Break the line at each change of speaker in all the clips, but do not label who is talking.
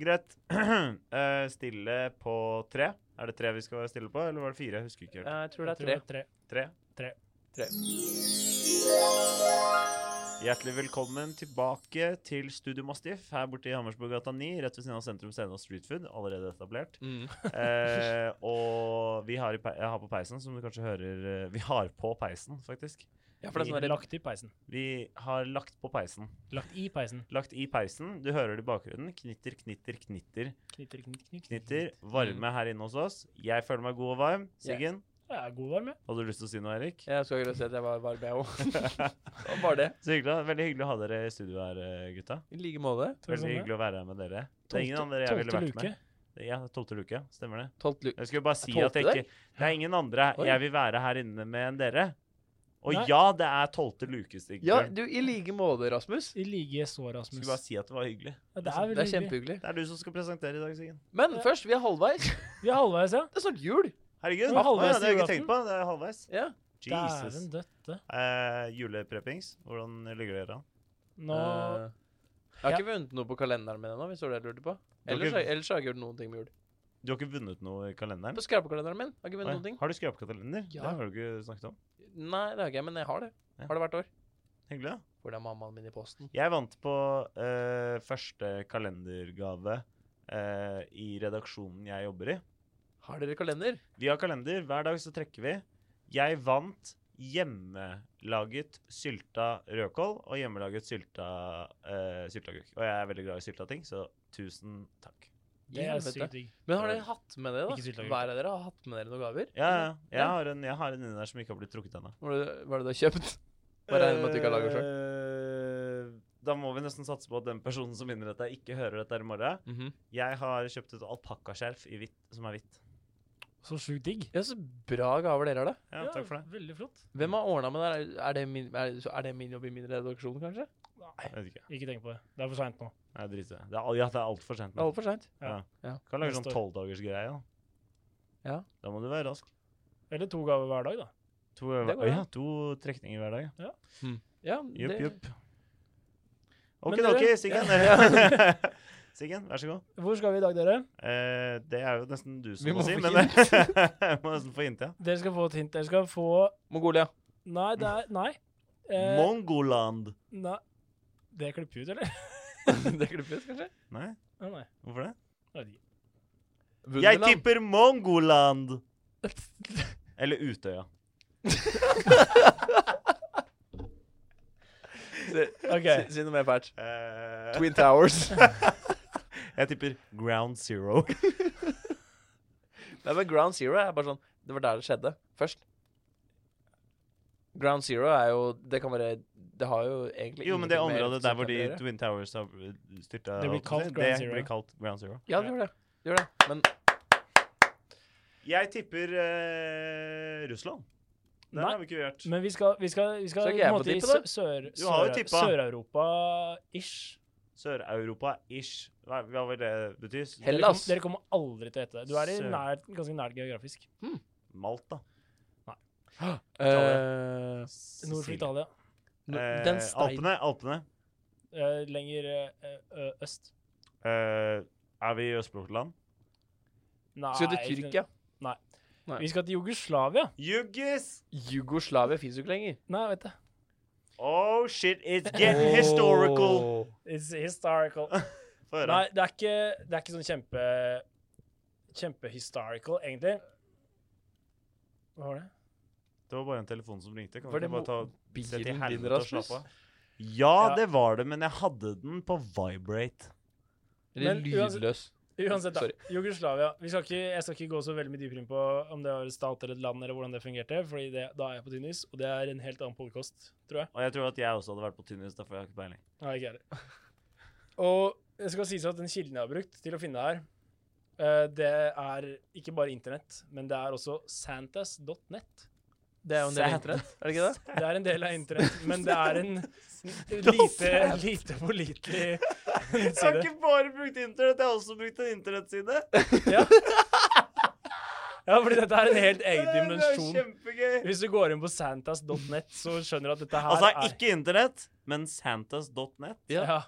Greit. Eh, stille på tre. Er det tre vi skal være stille på, eller var det fire? Jeg husker ikke. helt.
Eh, Jeg tror det er tre.
tre.
Tre?
Tre.
Tre. Hjertelig velkommen tilbake til Studio Mastiff her borte i Hammersborggata 9, rett ved siden av Sentrum Scene og Street Food, allerede etablert.
Mm.
Eh, og vi har, i, pe- jeg har på peisen, som du kanskje hører eh, Vi har på peisen, faktisk.
Ja, for det er sånn der-
Lagt i peisen.
Vi har lagt på peisen.
Lagt i peisen.
Lagt i peisen. Du hører det i bakgrunnen. Knitter, knitter, knitter.
Knitter, knitter, knitter.
Knitter. Varme her inne hos oss. Jeg føler meg god og varm. Siggen,
Ja, god varme.
hadde du lyst til å si noe, Erik?
Jeg skal ikke si at jeg var varm, jeg òg. Det var bare det.
Så hyggelig. da. Veldig hyggelig å ha dere i studio her, eh, gutta.
I like måte.
Tror du
Veldig
sånn det?
hyggelig å være her med dere. Det er ingen andre jeg
Tolvte-
ville vært
tolvte
med. Ja, tolvte luke. Stemmer det.
Tolvt lu...
Jeg skulle bare si
Er
at jeg
tolvte
ikke Det er ingen andre
Oi.
jeg vil være her inne med enn dere. Og
Nei.
ja, det er tolvte luke, Stig.
Ja, du, i like måte, Rasmus.
luke. I like så, Rasmus.
Skulle bare si at det var hyggelig.
Ja,
Det
det
er,
er veldig hyggelig.
kjempehyggelig.
Det er du som skal presentere i dag, Siggen.
Men først, vi er halvveis.
Vi er halvveis, ja.
Det er snart jul.
Herregud.
Det var
Å,
halvveis
ja, det har jeg ikke
i
tenkt på. Det er halvveis.
Ja.
Jesus.
Dæven døtte.
Eh, julepreppings, hvordan ligger dere an?
Nå
Eh, jeg har ikke vunnet noe på kalenderen min ennå, hvis det var det jeg lurte på.
Du har
Ellers,
ikke-
har- ellers har jeg ikke gjort noen ting med jul.
Du har ikke vunnet noe i kalenderen?
På skrapekalenderen min har jeg ikke
Oi,
vunnet noen ting.
Har du skrapekalender?
Ja.
Det har du ikke snakket om.
Nei, det har jeg ikke, men jeg har det.
Ja.
Har det hvert år.
Hyggelig, da.
Hvor det er mammaen min i posten.
Jeg vant på eh, første kalendergave eh, i redaksjonen jeg jobber i.
Har dere kalender?
Vi har kalender. Hver dag så trekker vi. Jeg vant hjemmelaget sylta rødkål og hjemmelaget sylta uh, sylteagurk. Og jeg er veldig glad i sylta ting, så tusen takk.
Det er
Helvete.
sykt digg.
Men har dere hatt med dere,
Ikke
da?
sylteagurk.
Hver av dere har hatt med dere noen gaver?
Ja, ja. Jeg
Ja.
har en, jeg har en inni der som ikke har blitt trukket ennå.
Hva er det, hva er det du har kjøpt? Bare regner med at du ikke har laget selv.
Eh, Da må vi nesten satse på at den personen som vinner dette, ikke hører dette her i morgen.
Mhm.
Jeg har kjøpt et alpakkaskjerf i hvitt, som er hvitt.
Så sjukt digg.
Ja, så bra gaver dere har, da.
Ja, takk for det.
Veldig flott.
Mm.
Hvem har ordna med det? her? Er det, min, er, så er det min jobb i min redaksjon, kanskje?
Jeg vet ikke.
Ikke tenk på det. Det er for seint nå.
Nei, drit i det. Det er, al- ja, det er altfor sent
Det er
nå.
altfor seint.
Ja.
Ja.
Kan lage
Neste
sånn tolvdagersgreie, da.
Ja.
Da må du være rask.
Eller to gaver hver dag, da.
To,
Det går
ja, to trekninger hver dag. ja.
Ja,
Jupp,
det-
jupp.
Men
Okidoki,
dere-
Siggen. Siggen, vær så god.
Hvor skal vi i dag, dere?
Eh, det er jo nesten du som
Vi
må,
må
si,
få
men
hint.
jeg må nesten få hint, ja.
Dere skal få et hint. Dere skal få
Mongolia.
Nei, det er Nei. Eh,
Mongoland.
nei. Det klipper vi ut, eller?
det klippes, kanskje?
Nei,
Å, nei.
hvorfor det?
Jeg vet ikke.
Jeg
Wunderland.
tipper Mongoland! Eller Utøya.
Si-
Ok.
Si, si noe mer fælt.
Eh,
Twin Towers.
jeg tipper Ground Zero.
Nei, men Ground Zero er bare sånn Det var der det skjedde først. Ground Zero er jo Det kan være Det har jo egentlig
Jo, men det
ingenting med
området der hvor de
representanter å
Twin
gjøre.
Towers har styrta
Det blir
holdt på å
kalt
si,
Ground
det
Zero.
blir kalt Ground Zero.
Ja, det gjør det. Det gjør det. Men
Jeg tipper eh, Russland. Der
Nei.
har vi ikke vært.
Men vi skal, vi skal, vi skal
Skal ikke
på en
jeg få
måte i
tippe, da?
sø- sør,
Du har jo
sør,
tippa.
Sør-Europa-ish.
Sør-Europa-ish. Hva, hva vil det bety?
Hel-
Dere, kom,
Hellas.
dere kommer aldri til å hete det. Du er i
Sør.
nær, ganske nært geografisk.
Malta.
eh,
Nord for
Sicil-
Italia.
Eh,
Den steinen
Alpene. Alpene.
Eh, lenger eh, ø- øst.
Eh, er vi i Østblokkland?
Nei
Skal du til Tyrkia? Nei.
Vi skal til Jugoslavia.
Juggis!
Jugoslavia fins jo ikke lenger.
Nei, vet du.
Oh shit, it's getting
Oh.
historical.
It's historical.
Få høre.
Nei, det er ikke, det er ikke sånn kjempe kjempehistorical, egentlig. Hva var det?
Det var bare en telefon som ringte. Kan vi
Var det
ikke bare ta sette i
Bilen din,
helvete og
Rasmus?
slappe av? Ja,
Ja.
det var det, men jeg hadde den på vibrate.
Eller
Men uansett-
lydløs.
Uansett, da.
Sorry.
Jugoslavia. Vi skal ikke, jeg skal ikke gå så veldig mye dypere inn på om det var et stat eller et land, eller hvordan det fungerte, Fordi det, da er jeg på tynn is, og det er en helt annen podkast, tror jeg.
Og jeg tror at jeg også hadde vært på Tunis. Derfor har jeg ikke peiling.
Nei, ikke jeg heller. Og det skal sies at den kilden jeg har brukt til å finne det her, eh, det er ikke bare internett, men det er også santas.net.
Det er jo en del av
Sand.
internett, er det ikke det?
Det er en del av internett, men det er en lite, lite pålitelig nettside.
bare brukt internett, jeg har også brukt en internettside.
Ja. ja, fordi dette er en helt egen dimensjon.
kjempegøy.
Hvis du går inn på santas.net, så skjønner du at dette her
Altså,
er
ikke internett, men santas.net.
ja.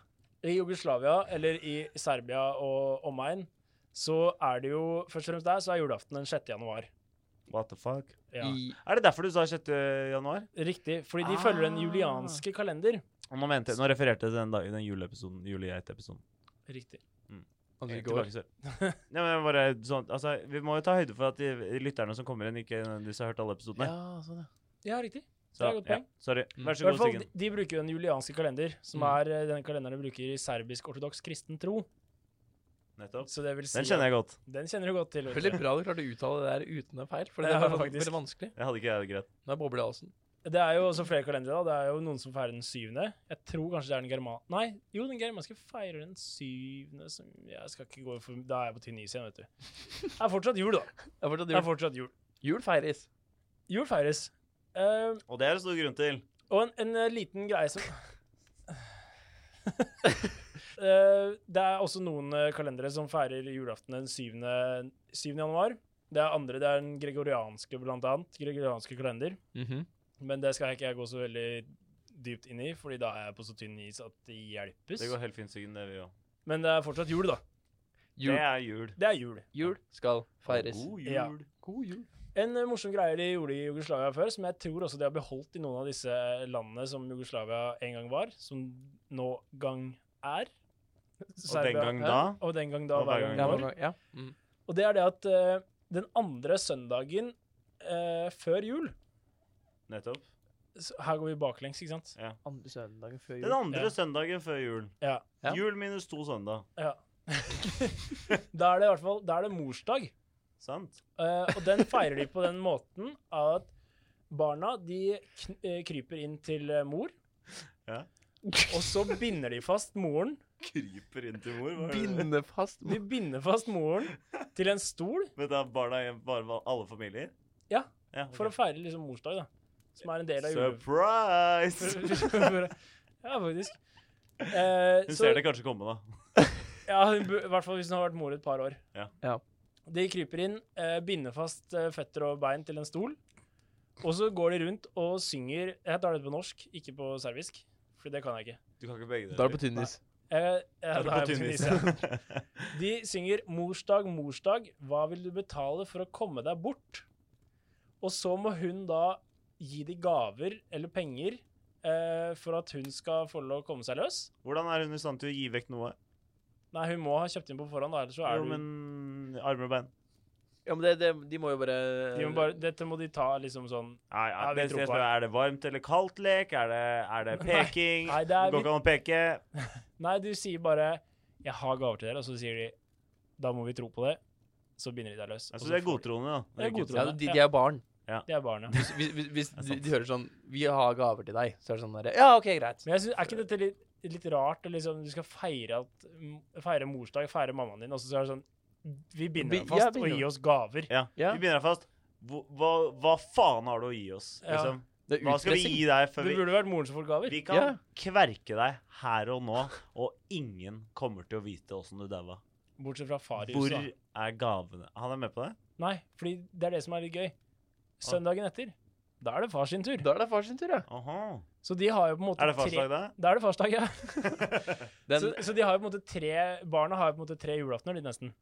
I Jugoslavia, eller i Serbia og omegn, så er det jo Først og fremst der så er julaften den 6. januar.
What the fuck?
Ja.
I,
Er det derfor du sa 6. januar?
Riktig. Fordi de følger
Ah.
den julianske kalender.
Og nå, mente, nå refererte jeg til den, da, den juleepisoden, julegeitepisoden.
Riktig.
altså, i går.
Tilbake til- Nei, men bare sånn, altså, vi må jo ta høyde for at de lytterne som kommer inn, ikke nødvendigvis har hørt alle episodene.
Ja, sånn, ja.
Ja, riktig. det er
så,
et godt
ja,
poeng.
sorry.
Mm.
Vær
I
så
hvert
god,
fall,
Siggen.
de, de bruker jo den julianske kalender, som
Mm.
er eh, den kalenderen de bruker i serbisk-ortodoks kristen tro.
Nettopp.
Så det vil si
Den kjenner jeg godt.
Den kjenner du godt til. vet du.
Veldig bra du klarte å uttale det der uten en feil, for det
Ja,
var
faktisk.
veldig vanskelig.
Jeg hadde ikke jeg det greit.
Nå er bobla i halsen.
Det er jo også flere kalendere. da. Det er jo noen som feirer den syvende. Jeg tror kanskje det er den germa... Nei, jo, den germanske feirer den syvende som Jeg skal ikke gå for Da er jeg på tynn is igjen, vet du. Det er fortsatt jul, da.
Det er fortsatt
Det er
jul.
fortsatt jul.
Jul feires.
Jul feires. Eh,
Og det er det stor grunn til.
og en, en eh, liten greie som Eh, Det er også noen eh, kalendere som feirer julaften den 7. 7. januar. Det er andre, det er den gregorianske, blant annet. Gregorianske kalender.
Mhm.
Men det skal ikke jeg gå så veldig dypt inn i, fordi da er jeg på så tynn is at det hjelpes.
Det går helt fint, Siggen. Det, vi gjør.
Men det er fortsatt jul, da.
det
Jul.
er jul.
Det er jul.
Jul skal feires.
God jul.
Ja.
God jul.
En eh, morsom greie de gjorde i Jugoslavia før, som jeg tror også de har beholdt i noen av disse eh, landene som Jugoslavia en gang var, som nå gang er.
Og den gang
Ja.
da
Og den gang da,
Og
hver
hver
gang
Ja,
nå.
men, ja. Mm.
Og det er det at eh, den andre søndagen eh, før jul
Nettopp.
så Her går vi baklengs, ikke sant?
Andre søndagen før
Den
jul.
andre
Ja.
søndagen før jul.
Ja.
Ja.
Jul minus to søndag.
ja. da er det i hvert fall Da er det morsdag.
Sant?
Eh, og den feirer de på den måten at barna de kn eh, kryper inn til eh, mor.
Ja.
Og så binder de fast moren.
Kryper inn til mor. hva er det?
Binde fast
De binder fast moren til en stol
Men da er barna i bare var alle familier?
Ja,
ja
for å
ok.
feire liksom morsdag, da. Som er en del av jule...
Surprise!
ja, faktisk. Eh,
Hun
så,
ser det kanskje komme, da.
ja, hun bu- I hvert fall hvis hun har vært mor et par år.
Ja.
Ja.
De kryper inn, eh, binder fast eh, føtter og bein til en stol. Og så går de rundt og synger Jeg tar det på norsk, ikke på serbisk. For det kan jeg ikke.
Du kan ikke begge
Da er det på tynnis.
Eh, ja,
Da
da
er det på
tynn is,
Tunis.
ja. De synger 'Morsdag, morsdag, hva vil du betale for å komme deg bort?' Og så må hun da gi de gaver eller penger eh, for at hun skal få lov å komme seg løs.
Hvordan er hun i stand til å gi vekk noe?
Nei, hun må ha kjøpt inn på forhånd, da, ellers så er
Jo, men armer og bein.
Ja, men det, det, de må jo bare
du
eh,
de må bare, Dette må de ta liksom sånn
Nei, ja,
Ja, vi
det,
tror
jeg
på
spør, er det varmt eller kaldt lek? Er det, er det peking?
Nei, det er
Går
vi,
ikke an å peke.
nei du sier bare 'Jeg har gaver til dere', og så sier de 'Da må vi tro på det'. Så binder de deg løs. og
Altså,
så
det er
får de-
godtroende, da.
Det er
ikke-
godtroende.
ja, de, de er barn.
De er barna.
Hvis, hvis, hvis, hvis
er
de,
sant.
de hører sånn Vi har gaver til deg, så er det sånn der Ja, OK, greit.
Men jeg synes, er ikke dette litt, litt rart? å Liksom, du skal feire, at, m- feire morsdag, feire mammaen din, og så er det sånn Vi binder
Bi-
deg
ja,
fast
binder
og
deg.
gir oss gaver.
Ja.
Ja.
Vi begynner fast. Hva, hva- hva faen har du å gi oss?
Ja.
Liksom?
Det er
Hva skal vi
utpressing.
gi deg før
Det
vi
burde vært moren som får gaver.
Vi kan
Ja.
kverke deg her og nå, og ingen kommer til å vite åssen du daua.
Bortsett fra far i
Hvor
huset. da.
er gavene? Han er med på det?
Nei, fordi det er det som er litt gøy. Søndagen etter, da er det far sin tur.
Da er det far sin tur, ja.
Aha.
Så de har jo på en måte
Er det farsdag,
tre
da?
Da er det farsdag, ja.
Den,
Så, så de har jo på en måte tre Barna har jo på en måte tre julaftener, de nesten.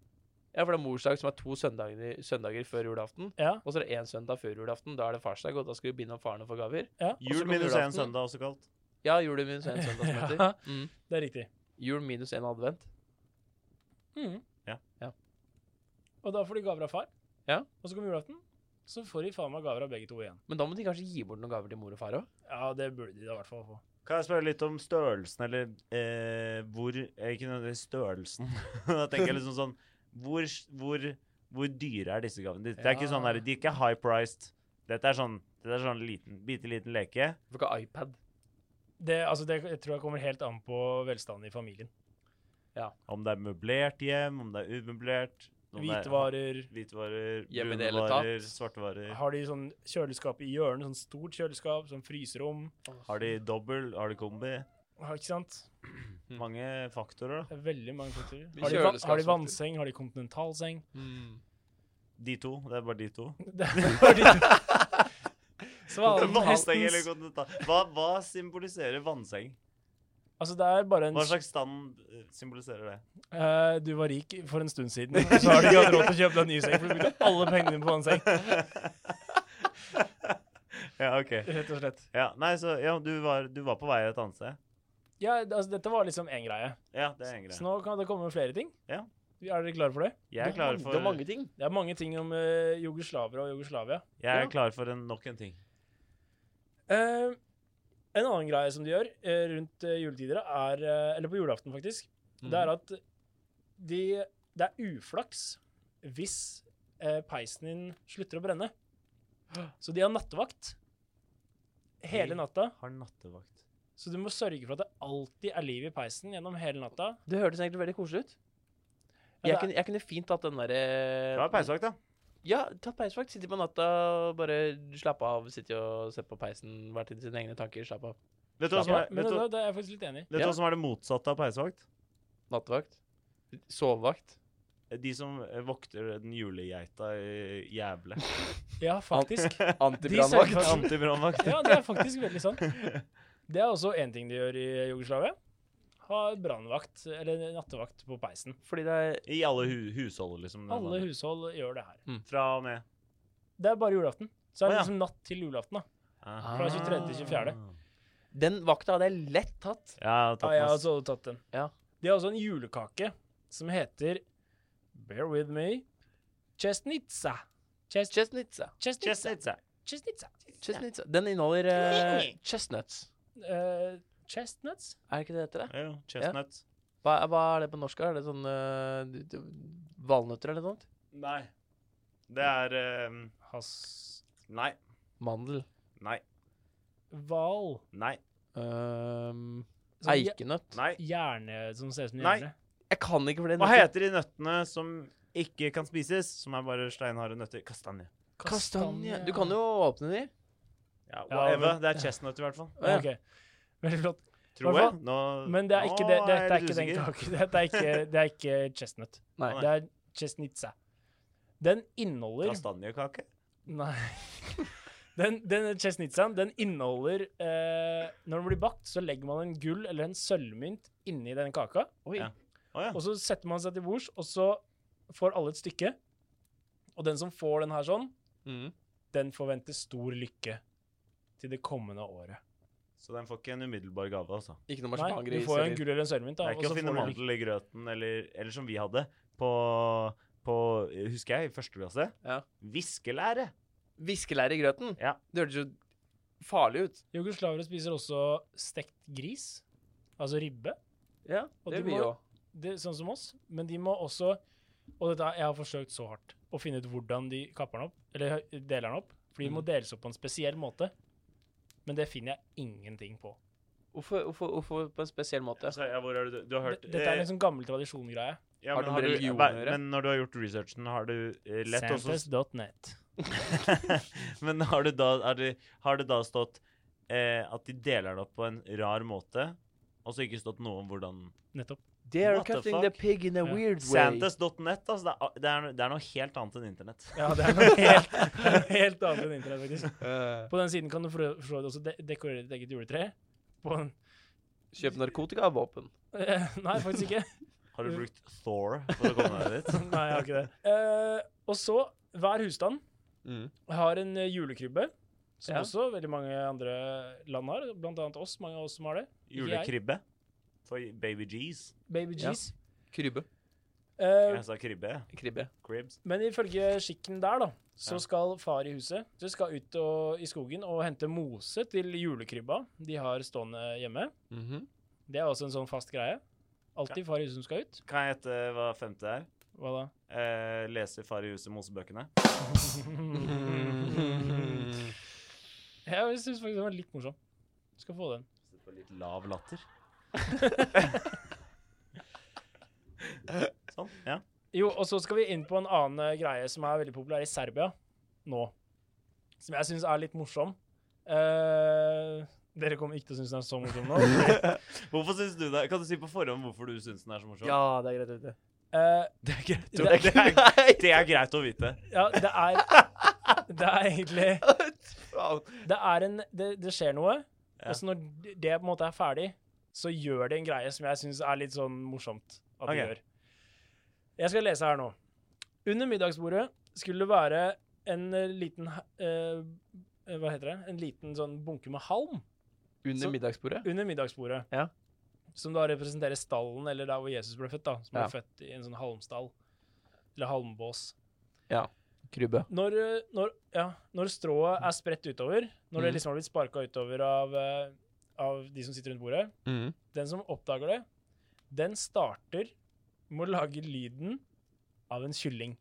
ja, for det er morsdag som er to søndager, søndager før julaften.
Ja.
Og så er det én søndag før julaften. Da er det farsdag, og da skal vi binde opp faren og få gaver. så
Jul
kommer
minus én
julaften.
søndag, også kalt.
Ja, jul minus én søndag som heter.
Ja.
Mm.
Det er riktig.
Jul minus én advent.
Mhm.
Ja.
Ja.
Og da får de gaver av far.
Ja.
Og så kommer julaften, så får de faen meg gaver av begge to igjen.
Men da må de kanskje gi bort noen gaver til mor og far òg?
Ja, det burde de da i hvert fall få.
Kan jeg spørre litt om størrelsen, eller eh, hvor eh, Ikke nødvendigvis størrelsen. da tenker jeg liksom sånn Hvor, hvor, hvor dyre er disse gavene? Det, det er ikke sånn
Ja.
der, De er ikke high priced. Dette er sånn, dette er sånn liten, bitte liten leke.
Får ikke iPad.
Det, altså det jeg tror jeg kommer helt an på velstanden i familien.
Om det er møblert hjem, om det er umøblert om det er-
Hvitevarer.
Hvitvarer,
Hjemme i
brune
det hele tatt.
varer, svarte varer.
Har de sånn kjøleskap i hjørnet, sånn stort kjøleskap, sånn fryserom?
Har de dobbel? Har de kombi?
Har, ikke sant?
Mm.
Mange faktorer, da.
Det er veldig mange faktorer.
Mye
Har de, va-
kjøleskap
har de
som-
vannseng? Har de kontinentalseng?
Mm.
De to. Det er bare de to.
Det er bare de- Svalen,
Vannseng eller
hestens
kontinental. Hva, hva symboliserer vannseng?
Altså, det er bare en
Hva slags stand eh, symboliserer det?
Eh, du var rik for en stund siden, og så har du ikke hatt råd til å kjøpe deg en ny seng. For du brukte alle pengene dine på en seng.
ja, OK.
Rett og slett.
Ja, nei, så ja, du var, du var på vei et annet sted.
Ja, altså, dette var liksom én greie.
Ja, det er en
Så
greie.
nå kan det komme flere ting.
Ja.
Er dere klare for det?
Jeg er klar
Det er
for,
mange ting.
Det er mange ting om uh, jugoslavere og Jugoslavia.
jeg
Ja.
er klar for en, nok en ting.
Eh, en annen greie som de gjør eh, rundt eh, juletider, er eh, Eller på julaften, faktisk.
Mhm.
Det er at de Det er uflaks hvis eh, peisen din slutter å brenne. Så de har nattevakt hele
Oi.
natta.
Har nattevakt.
Så du må sørge for at det alltid er liv i peisen gjennom hele natta.
Det hørtes egentlig veldig koselig ut. Jeg
Ja, det er-
kunne, jeg kunne fint tatt den eh, derre
Bra peisevakt, da.
Ja, tatt peisvakt. Sitte på natta og bare slappe av. Sitte og se på peisen, vært i sine egne tanker, slappe av.
Vet du hva som
Ja,
er,
men
vet
det,
du,
det er jeg faktisk litt enig i.
vet du
Ja.
hva som er det motsatte av peisevakt?
Nattevakt. Sovevakt.
De som eh, vokter den julegeita i jævle.
Ja, faktisk.
Antibrannvakt.
De sørger
Antibrannvakt.
Ja, det er faktisk veldig sant. Det er også én ting de gjør i Jugoslavia. Ha brannvakt, eller nattevakt, på peisen.
Fordi det er
I alle hu hushold, liksom. den
Alle
der.
hushold gjør det her.
Fra og med
Det er bare julaften. Så er
Å,
det
ja.
liksom natt til julaften, da.
Ah.
Fra 23. til 24..
Den vakta hadde jeg lett tatt.
Ja, jeg har tatt
Ja, altså- jeg har
masse.
også tatt den.
Ja.
De har også en julekake som heter Bear with me Chesnitsa. Chest,
Chestnitsa.
Just
chestnitsa.
it's a-
Chestnitsa.
Chestnitsa. Den inneholder eh, chestnuts.
Eh, chestnuts?
Er det ikke det det heter? det?
Ja, jo, Chestnut.
Hva, hva er det på norsk? Er det sånn eh, d- d- Valnøtter eller noe sånt?
Nei. Det er eh,
Has...
Nei.
Mandel.
Nei.
Hval.
Nei.
Ehm,
Sånn je-
eikenøtt.
Nei.
Hjerne som ser ut som en
Nei.
hjerne.
Jeg kan ikke for det
Hva heter de nøttene som ikke kan spises, som er bare steinharde nøtter? Kastanje.
Kastanje. Du kan jo åpne de.
Ja,
Ja,
whatever.
men-
Det er chestnut i hvert fall.
Å, ja.
Ok, Veldig flott.
Tror
Hva
jeg.
faen?
Nå,
Men det er ikke,
nå
det, det, det er
litt
ikke den
usikker.
kake. Dette er ikke, det er ikke chestnut.
Nei.
Det er chestnitsa. Den inneholder
Kastanjekake?
Nei. Den, den chestnitsaen den inneholder eh, Når den blir bakt, så legger man en gull eller en sølvmynt inni den kaka.
Oi.
Ja. Å ja.
Og så setter man seg til bords, og så får alle et stykke. Og den som får den her sånn,
Mhm.
den forventer stor lykke til det kommende året.
Så den får ikke en umiddelbar gave, altså.
Ikke noe
Nei, du
marsipangris.
får jo en
eller-
gull eller en sølvmynt,
Det
da.
er ikke
og
å
så
finne
får du lykke.
mandel i grøten, eller, eller som vi hadde på, på Husker jeg, i første klasse?
Ja.
Viskelære.
Viskelære i grøten?
Ja.
Det hørtes jo farlig ut.
Jugoslavere spiser også stekt gris, altså ribbe,
Ja,
Og
det
du
vil
må-
jo.
det, sånn som oss. Men de må også Og dette, har- jeg har forsøkt så hardt å finne ut hvordan de kapper den opp, eller deler den opp. For de må
Mhm.
deles opp på en spesiell måte. Men det finner jeg ingenting på.
Hvorfor, hvorfor, hvorfor på en spesiell måte?
Så, ja, hvor er det, du- du har hørt
Dette er
eh,
en sånn gammel tradisjongreie.
ja,
har
men
det med
har du-
religion å
nei,
gjøre?
Men når du har gjort researchen, har du eh, lett også
Santes.net.
Men har det da, er det, har det da stått eh, at de deler det opp på en rar måte, og så ikke stått noe om hvordan
Nettopp.
They are
What the
cutting
fuck?
the pig in a
Ja.
weird way.
Santas.net, altså. Det er, det, er, det er noe helt annet enn internett.
Ja, det er noe helt, helt annet enn internett, faktisk.
Eh.
På den siden kan du for for så vidt også de dekorere ditt eget juletre. På en
Kjøp narkotika og våpen.
Nei, faktisk ikke.
Har du brukt Thor for å komme deg dit?
Nei, jeg har ikke det. Eh, og så, hver husstand
Mm.
har en eh, julekrybbe, som
Ja.
også veldig mange andre land har, blant annet oss, mange av oss som har det. Ikke jeg.
Julekribbe for baby G's.
Baby
Ja.
G's.
Krybbe.
Eh,
Jeg sa kribbe.
Kribbe.
Cribs.
men ifølge skikken der, da, så
Ja.
skal far i huset så skal ut og, i skogen og hente mose til julekrybba de har stående hjemme.
Mhm.
Det er også en sånn fast greie. Alltid far i huset som skal ut.
Kan jeg gjette hva femte er?
Hva da?
Eh, leser Far i huset Mosebøkene.
Jeg syns faktisk den var litt morsom. Du skal få den.
Sitter på litt lav latter. sånn. Ja.
Jo, og så skal vi inn på en annen eh, greie som er veldig populær i Serbia nå. Som jeg syns er litt morsom. Eh, dere kommer ikke til å synes den er så morsom nå.
Hvorfor synes du det? Kan du si på forhånd hvorfor du syns den er så morsom?
Ja, det er greit å vite.
Eh,
Det er greit å, det
Det
er,
Nei!
det er greit å vite.
ja, det er Det er egentlig
faen.
Det er en Det, det skjer noe,
Ja.
og så når det på en måte er ferdig, så gjør de en greie som jeg syns er litt sånn morsomt at de
Ok.
gjør. Jeg skal lese her nå. Under middagsbordet skulle det være en eh, liten eh, Hva heter det? En liten sånn bunke med halm
Under
Så-
middagsbordet?
under middagsbordet.
Ja.
Som da representerer stallen, eller der hvor Jesus ble født. da, Som
Ja.
ble født i en sånn halmstall. Eller halmbås.
Krybbe.
Når, eh, når, ja, når strået er spredt utover, når det
Mhm.
liksom har blitt sparka utover av, eh, av de som sitter rundt bordet,
Mhm.
den som oppdager det, den starter med å lage lyden av en kylling.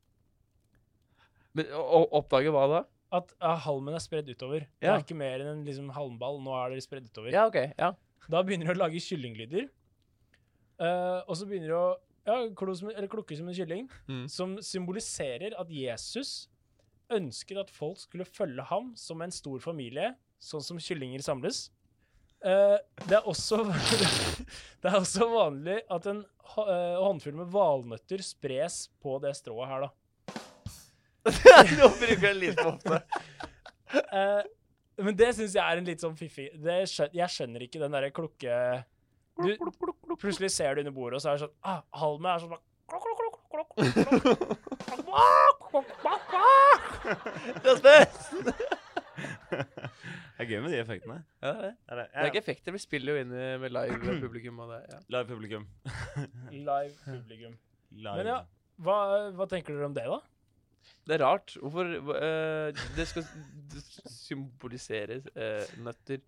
Men å, å oppdage hva da?
At ah, halmen er spredd utover. Det
Ja.
er ikke mer enn en liksom, halmball. Nå er det spredd utover.
Ja, OK. Ja.
Da begynner de å lage kyllinglyder. Eh, og så begynner de å ja, klo som, eller klukke som en kylling,
Mhm.
som symboliserer at Jesus ønsket at folk skulle følge ham som en stor familie, sånn som kyllinger samles. Eh, det, er også, det er også vanlig at en hå- eh, håndfull med valnøtter spres på det strået her, da.
Nå bruker jeg litt for ofte.
Eh, men det syns jeg er en litt sånn fiffig det skjøn, Jeg skjønner ikke den derre klukke... Du, plutselig ser du under bordet, og så er det sånn ah, Halmen er sånn klok, klok, klok, klok, klok, klok, klok.
Det er gøy med de effektene.
Ja, det, er det.
Det er, det.
det er
Ja,
ikke effekter. Vi spiller jo inn i- med live publikum. Og det, ja.
Live publikum.
Live publikum.
Live.
Men ja, hva, hva tenker dere om det, da?
det er rart. Hvorfor eh, Det skal det symboliseres eh, nøtter.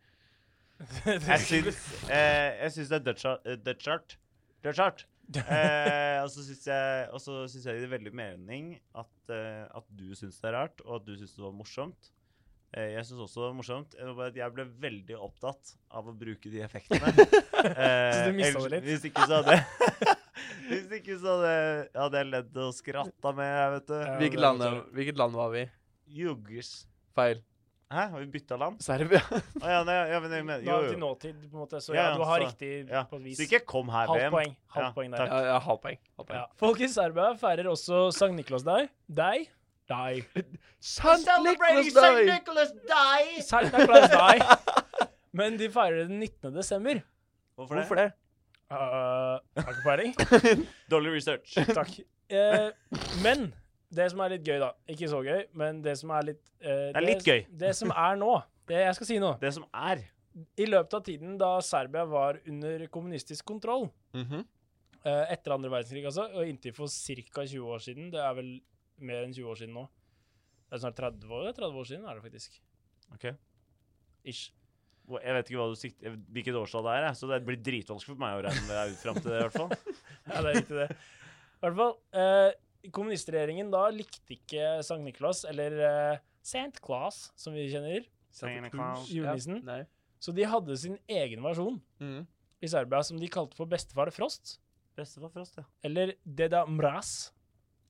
Jeg syns, eh, jeg syns det er dutch art. eh, Dutch art. Dutch art. Eh, og så syns jeg, og så syns jeg det gir veldig mening at, eh, at du syns det er rart, og at du syns det var morsomt. Eh, jeg syns også det var morsomt. Jeg må bare at Jeg ble veldig opptatt av å bruke de effektene.
Så
Eh,
du mistet det
ellers-
litt?
Hvis ikke så hadde Hvis ikke så hadde hadde jeg ledd og skratta med,
Ja.
vet
Hvilket
det er
land, er- hvilket land var vi i?
du. Juggers.
Feil.
Hæ, har vi bytta land?
Serbia.
Å ja, nei, ja, men jeg mener
Nå
jo,
er det til
jo.
nåtid, på en måte, så
Ja,
ja,
ja,
du har
så-
riktig
Ja.
på et vis.
Så ikke kom her,
Halvt
VM.
poeng. Halvt
Ja,
poeng
takk.
der.
Ja, ja, halvt poeng. Halvt poeng.
Ja. Folk i Serbia feirer også Sankt Niklas deg. Deg. Deg.
Sant Nicholas Day!
Sankt Niklas deg. Men de feirer den 19. desember.
Hvorfor det?
Hvorfor det?
Uh, har ikke peiling.
Dårlig research.
Takk. Eh, men det som er litt gøy, da Ikke så gøy, men det som er litt eh,
Det er litt gøy.
Det som er nå, det jeg skal si nå
Det som er
I løpet av tiden da Serbia var under kommunistisk kontroll,
Mhm.
eh, etter andre verdenskrig altså, og inntil for ca. 20 år siden Det er vel mer enn 20 år siden nå. Det er snart 30 år, det er 30 år siden, er det faktisk.
Ok.
Ish.
Hvor- Jeg vet ikke hva du sikter, hvilket årstall det er, jeg, så det blir dritvanskelig for meg å regne det ut fram til det. i hvert fall.
Ja, det er riktig, det. I hvert fall, eh, kommunistregjeringen da likte ikke Sankt Niklas, eller eh, Saint Claus, som vi kjenner,
Santa
Santa
Claus.
Cruz.
julenissen.
Ja. Nei.
Så de hadde sin egen versjon
Mhm.
i Serbia som de kalte for Bestefar Frost,
Bestefar Frost, ja.
eller Deda Mraz,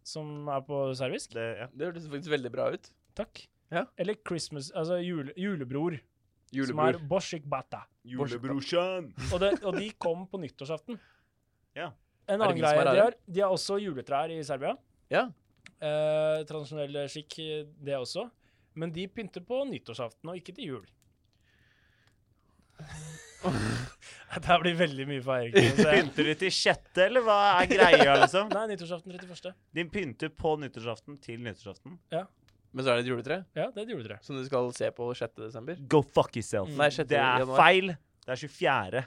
som er på serbisk.
Det, ja.
Det hørtes faktisk veldig bra ut.
Takk.
Ja.
Eller Christmas, altså jule, julebror,
Julebror.
som er Boshik Bata.
Julebrorsan!
Og, det, og de kom på nyttårsaften.
Ja.
En
Er det
annen
vi som
greie
er
de
rare?
har, de har også juletrær i Serbia.
Ja.
Eh, tradisjonell skikk, det også. Men de pynter på nyttårsaften, og ikke til jul. Dette blir veldig mye feiring. så jeg-
Pynter de til sjette, eller hva er greia, liksom?
Nei, nyttårsaften 31.
De pynter på nyttårsaften til nyttårsaften.
Men så er det et juletre
Ja, det er et juletre.
som du skal se på 6. desember.
Go fuck yourself.
Nei, 6.
Det er
januar.
feil. Det er 24.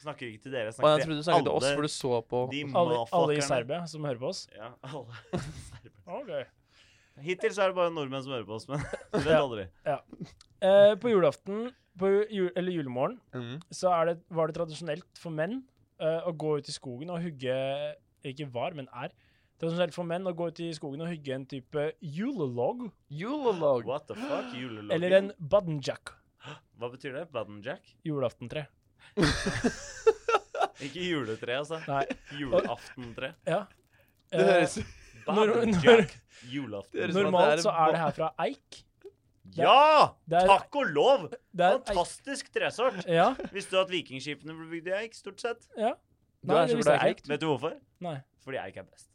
Snakker ikke til dere, jeg
Å, jeg
snakker
trodde
til
du snakket til oss, for
alle
du så på
de
Alle, alle i
motherfuckerne.
Serbia som hører på oss.
Ja, alle.
Okay.
Hittil så er det bare nordmenn som hører på oss, men du vet
Ja.
aldri.
Eh, på julaften, på ju, eller julemorgen,
Mhm.
så er det, var det tradisjonelt for menn eh, å gå ut i skogen og hugge Ikke var, men er. Tradisjonelt for menn å gå ut i skogen og hugge en type julelog
Julelog.
What the fuck? Juleloggen?
eller en buddenjack.
Hva betyr det? Baden Jack?
Julaftentre.
Ikke juletre, altså.
Nei.
Julaftentre.
Ja.
Det
Eh,
høres
Når-
Baden
når-
Jack. Julaften.
høres-
normalt
det er-
så er sånn- det her fra eik.
Ja!
Det er-
Takk og lov!
Det er eik.
Fantastisk tresort.
Ja.
Visste du at vikingskipene ble bygd i eik, stort sett?
Du
Nei,
er
det
så
visste
glad i
jeg
eik.
Vet du hvorfor?
Nei.
Fordi eik er best.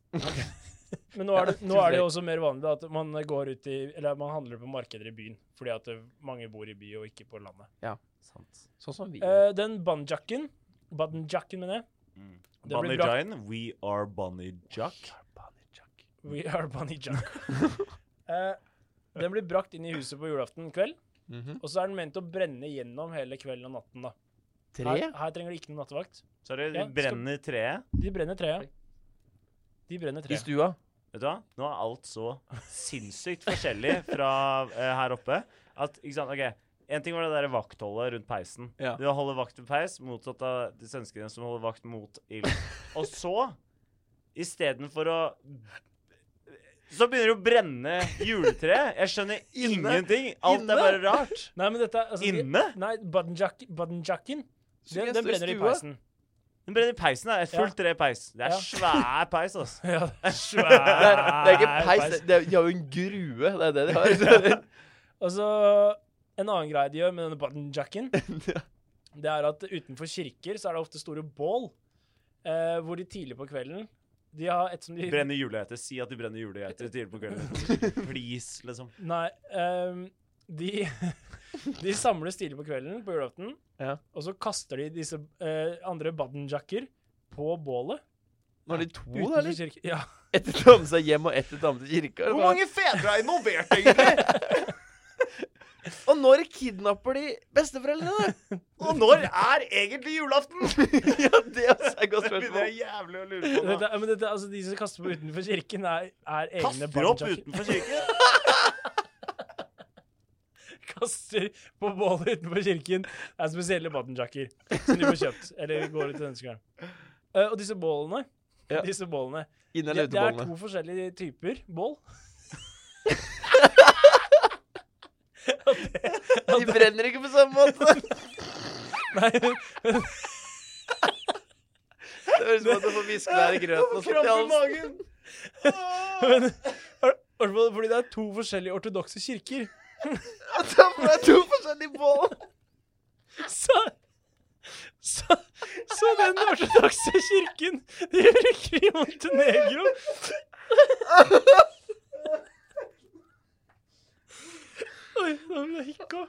Men nå er, det,
Ja,
nå er det jo
tusen
også mer vanlig at man går ut i Eller man handler på markeder i byen, fordi at eh, mange bor i by og ikke på landet.
Sånn som vi.
Eh, den bandjakken Buttonjacken, mener jeg.
Mm.
blir
Bunny
bra.
Jine, we are Bunny Jack.
We are Bunnyjack. uh, den blir brakt inn i huset på julaften kveld,
Mhm.
og så er den ment å brenne gjennom hele kvelden og natten. da. Her,
Tre?
her trenger du ikke noen nattevakt.
Så er det, de
Ja, skal-
brenner treet.
De brenner treet. De brenner
I
treet.
stua?
Vet du hva? Nå er alt så sinnssykt forskjellig fra eh, her oppe at ikke sant, OK. En ting var det der vaktholdet rundt peisen.
Ja.
Det å holde vakt ved peis, motsatt av de svenskene som holder vakt mot ild. Og så, istedenfor å Så begynner det å brenne juletreet. Jeg skjønner ingenting. Alt
Inne?
er bare rart.
Nei, men dette er- altså, de,
Inne?
Nei, Buttonjack- Buttonjacken,
jeg
den,
står i
den brenner i
stua?
peisen.
Den brenner i peisen. Det er et fullt tre i peis. Det er
Ja.
svær peis, altså.
Ja, svær
Det er, det er ikke Ah, peis, det- det er, de har jo en grue. Det er det de har.
Altså, en annen greie de gjør med denne buttonjacken, det er at utenfor kirker så er det ofte store bål, eh, hvor de tidlig på kvelden De har et som de
Brenner julegeiter. Si at de brenner julegeiter tidlig på kvelden. Please, liksom.
Nei. ehm, de, de samles tidlig på kvelden på julaften,
Ja.
og så kaster de disse eh, andre buttonjacker på bålet.
Nå har de to, da,
Utenfor
eller?
kirke. Ja.
Ett til å ta med seg hjem, og ett til å ta med til kirka. eller
Hvor
hva?
mange fedre er involvert, egentlig?
Og når kidnapper de besteforeldrene, da?
Og når er egentlig julaften?
ja, det er også et godt
Det begynner
spørsmål.
jeg jævlig å lure på.
Dette, men dette, altså, de som kaster på utenfor kirken, er, er
nå.
egne
Kaster opp
buttonjacker.
utenfor kirken.
kaster på bålet utenfor kirken. Det er spesielle buttonjacker som de får kjøpt. Eller går ut til ønskeren. Eh, og disse bålene,
Ja.
disse bålene
Inne eller
det,
ute
det
på
er
bålene.
to forskjellige typer bål. Og det-
De brenner ikke på samme måte.
Nei, men-
Det høres ut som at du får viskelær i grøten og sånt i halsen.
magen.
men har- i hvert fall Fordi det er to forskjellige ortodokse kirker.
Og ta på deg to forskjellige bål.
Så, så, så den ortodokse kirken de bruker i Montenegro Oi, nå ble jeg hikka.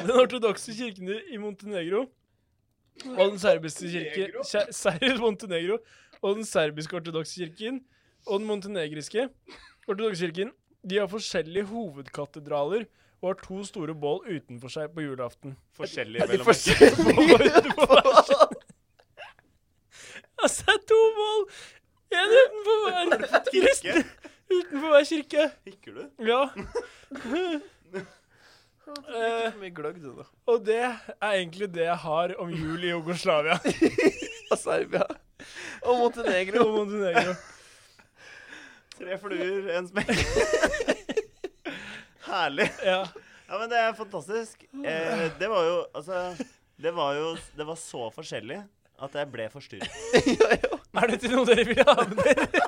Den ortodokse kirken i Montenegro og den serbiske kirke
Montenegro?
Ser- Ser- Montenegro og den serbiske ortodokse kirken og den montenegriske ortodokse kirken de har forskjellige hovedkatedraler og har to store bål utenfor seg på julaften.
Forskjellig
De
mellom
forskjellige bål.
Altså, det er to bål! Én utenfor hver kristne. Utenfor hver kirke.
Hikker du?
Ja.
Ikke for mye gløgg, du, da.
Eh, Og det er egentlig det jeg har om jul i Jugoslavia
Og Serbia. Og Montenegro.
og Montenegro.
Tre fluer, én smekk. Herlig.
Ja.
Ja, men det er fantastisk. Eh, det var jo Altså, det var jo Det var så forskjellig at jeg ble forstyrret.
ja, ja.
Er dette noe dere vil ha med dere?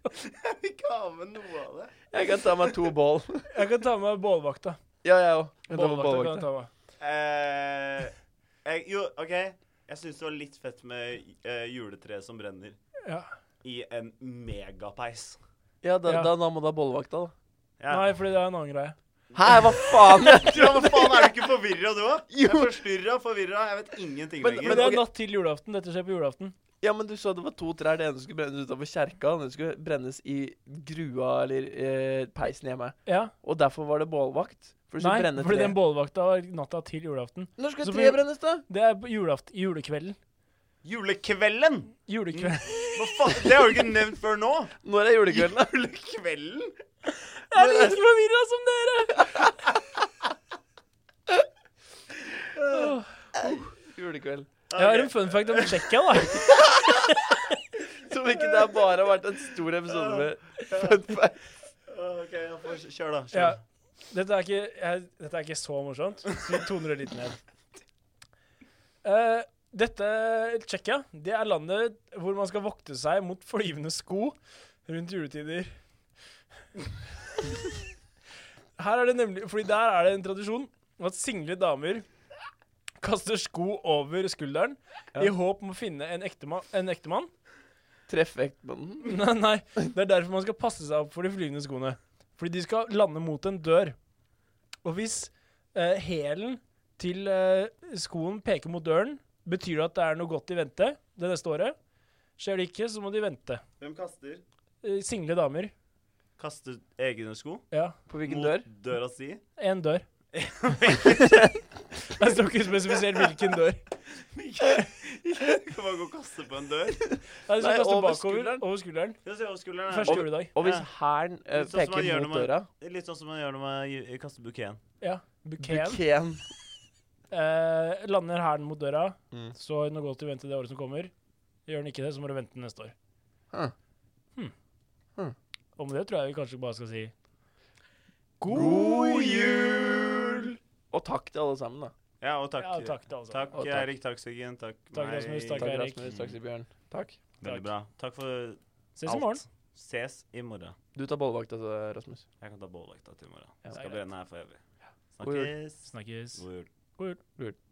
Jeg vil ikke ha med noe av det.
Jeg kan ta meg to bål.
Jeg kan ta med meg bålvakta.
Ja, jeg òg.
Bålvakta kan jeg ta med.
Eh, jeg, jo, OK. Jeg syns det var litt fett med eh, juletre som brenner
Ja.
i en megapeis.
Ja, da,
Ja.
da, da må du ha bollevakta, da.
Ja.
Nei, fordi det er en annen greie.
Hæ, hva faen? Jeg
Ja,
trodde
men faen, er du ikke forvirra, du òg? Jeg
Jo.
er forstyrra, forvirra. Jeg vet ingenting
Men-
lenger.
Men det
ok.
er natt til julaften. Dette skjer på julaften.
Ja, men du sa det var to trær. Det ene skulle brennes utenfor kjerka, det andre skulle brennes i grua eller eh, peisen hjemme.
Ja.
Og derfor var det bålvakt. For du
Nei,
skulle brenne
fordi
tre.
den bålvakta var natta til julaften.
Når skal
Så
tre
blir-
brennes, da?
Det er på julaften, julekvelden.
Julekvelden!
Julekvelden.
Hva faen? Det har du ikke nevnt før nå.
Når er julekvelden, da?
Julekvelden?
Jeg er like forvirra som dere! Åh.
Julekveld.
Ok.
Jeg har en fun fact om Tsjekkia, da.
Som ikke det har bare har vært en stor episode med fun fact.
OK, jeg får kjør, da. Kjør.
Ja. Dette, er ikke, jeg, dette er ikke så morsomt, så vi toner det litt ned. Eh, dette Tsjekkia, det er landet hvor man skal vokte seg mot flyvende sko rundt juletider. Her er det nemlig Fordi der er det en tradisjon at single damer kaster sko over skulderen
Ja.
i håp om å finne en ektemann. En ektemann.
Treff vektmannen.
Nei, nei, det er derfor man skal passe seg opp for de flyvende skoene. Fordi de skal lande mot en dør. Og hvis eh, hælen til eh, skoen peker mot døren, betyr det at det er noe godt i vente det neste året. Skjer det ikke, så må de vente.
Hvem kaster?
Eh, Single damer.
Kaster egne sko
Ja.
På hvilken
mot
dør?
døra si.
Én dør. Det står ikke spesifisert hvilken dør.
Du kan bare gå og kaste på en dør.
Nei, det
Nei,
står
over
over
skulderen.
skulderen. altså Over skulderen.
Det ser jeg over skulderen her.
Første juledag.
Og hvis
Ja.
hæren eh,
Litt sånn som man gjør
peker
når
mot
man-
døra
Det er Litt sånn som man gjør når man gi- kaster bukeen.
Ja. Buken.
Buken.
Eh, lander hælen mot døra,
Mm.
så noe godt i vente det året som kommer. Gjør den ikke det, så må du vente neste år.
Huh.
Hmm.
Huh.
Og med det tror jeg vi kanskje bare skal si
God jul! Og takk til alle sammen, da.
Ja, og takk.
ja, takk til alle sammen.
Takk,
Og takk.
Eirik. Takk, Siggen. Takk,
Takk,
meg.
Rasmus, Takk,
Takk,
Eirik.
Rasmus. Takk, Bjørn. Takk.
Veldig
Takk.
bra. Takk for
Ses i morgen.
Ses i morgen.
Du tar bollevakta, så, Rasmus.
Jeg kan ta bålvakta til i morgen.
Ja.
Skal
Det er greit.
brenne her for evig.
God jul.
Snakkes.
Snakkes.
God jul.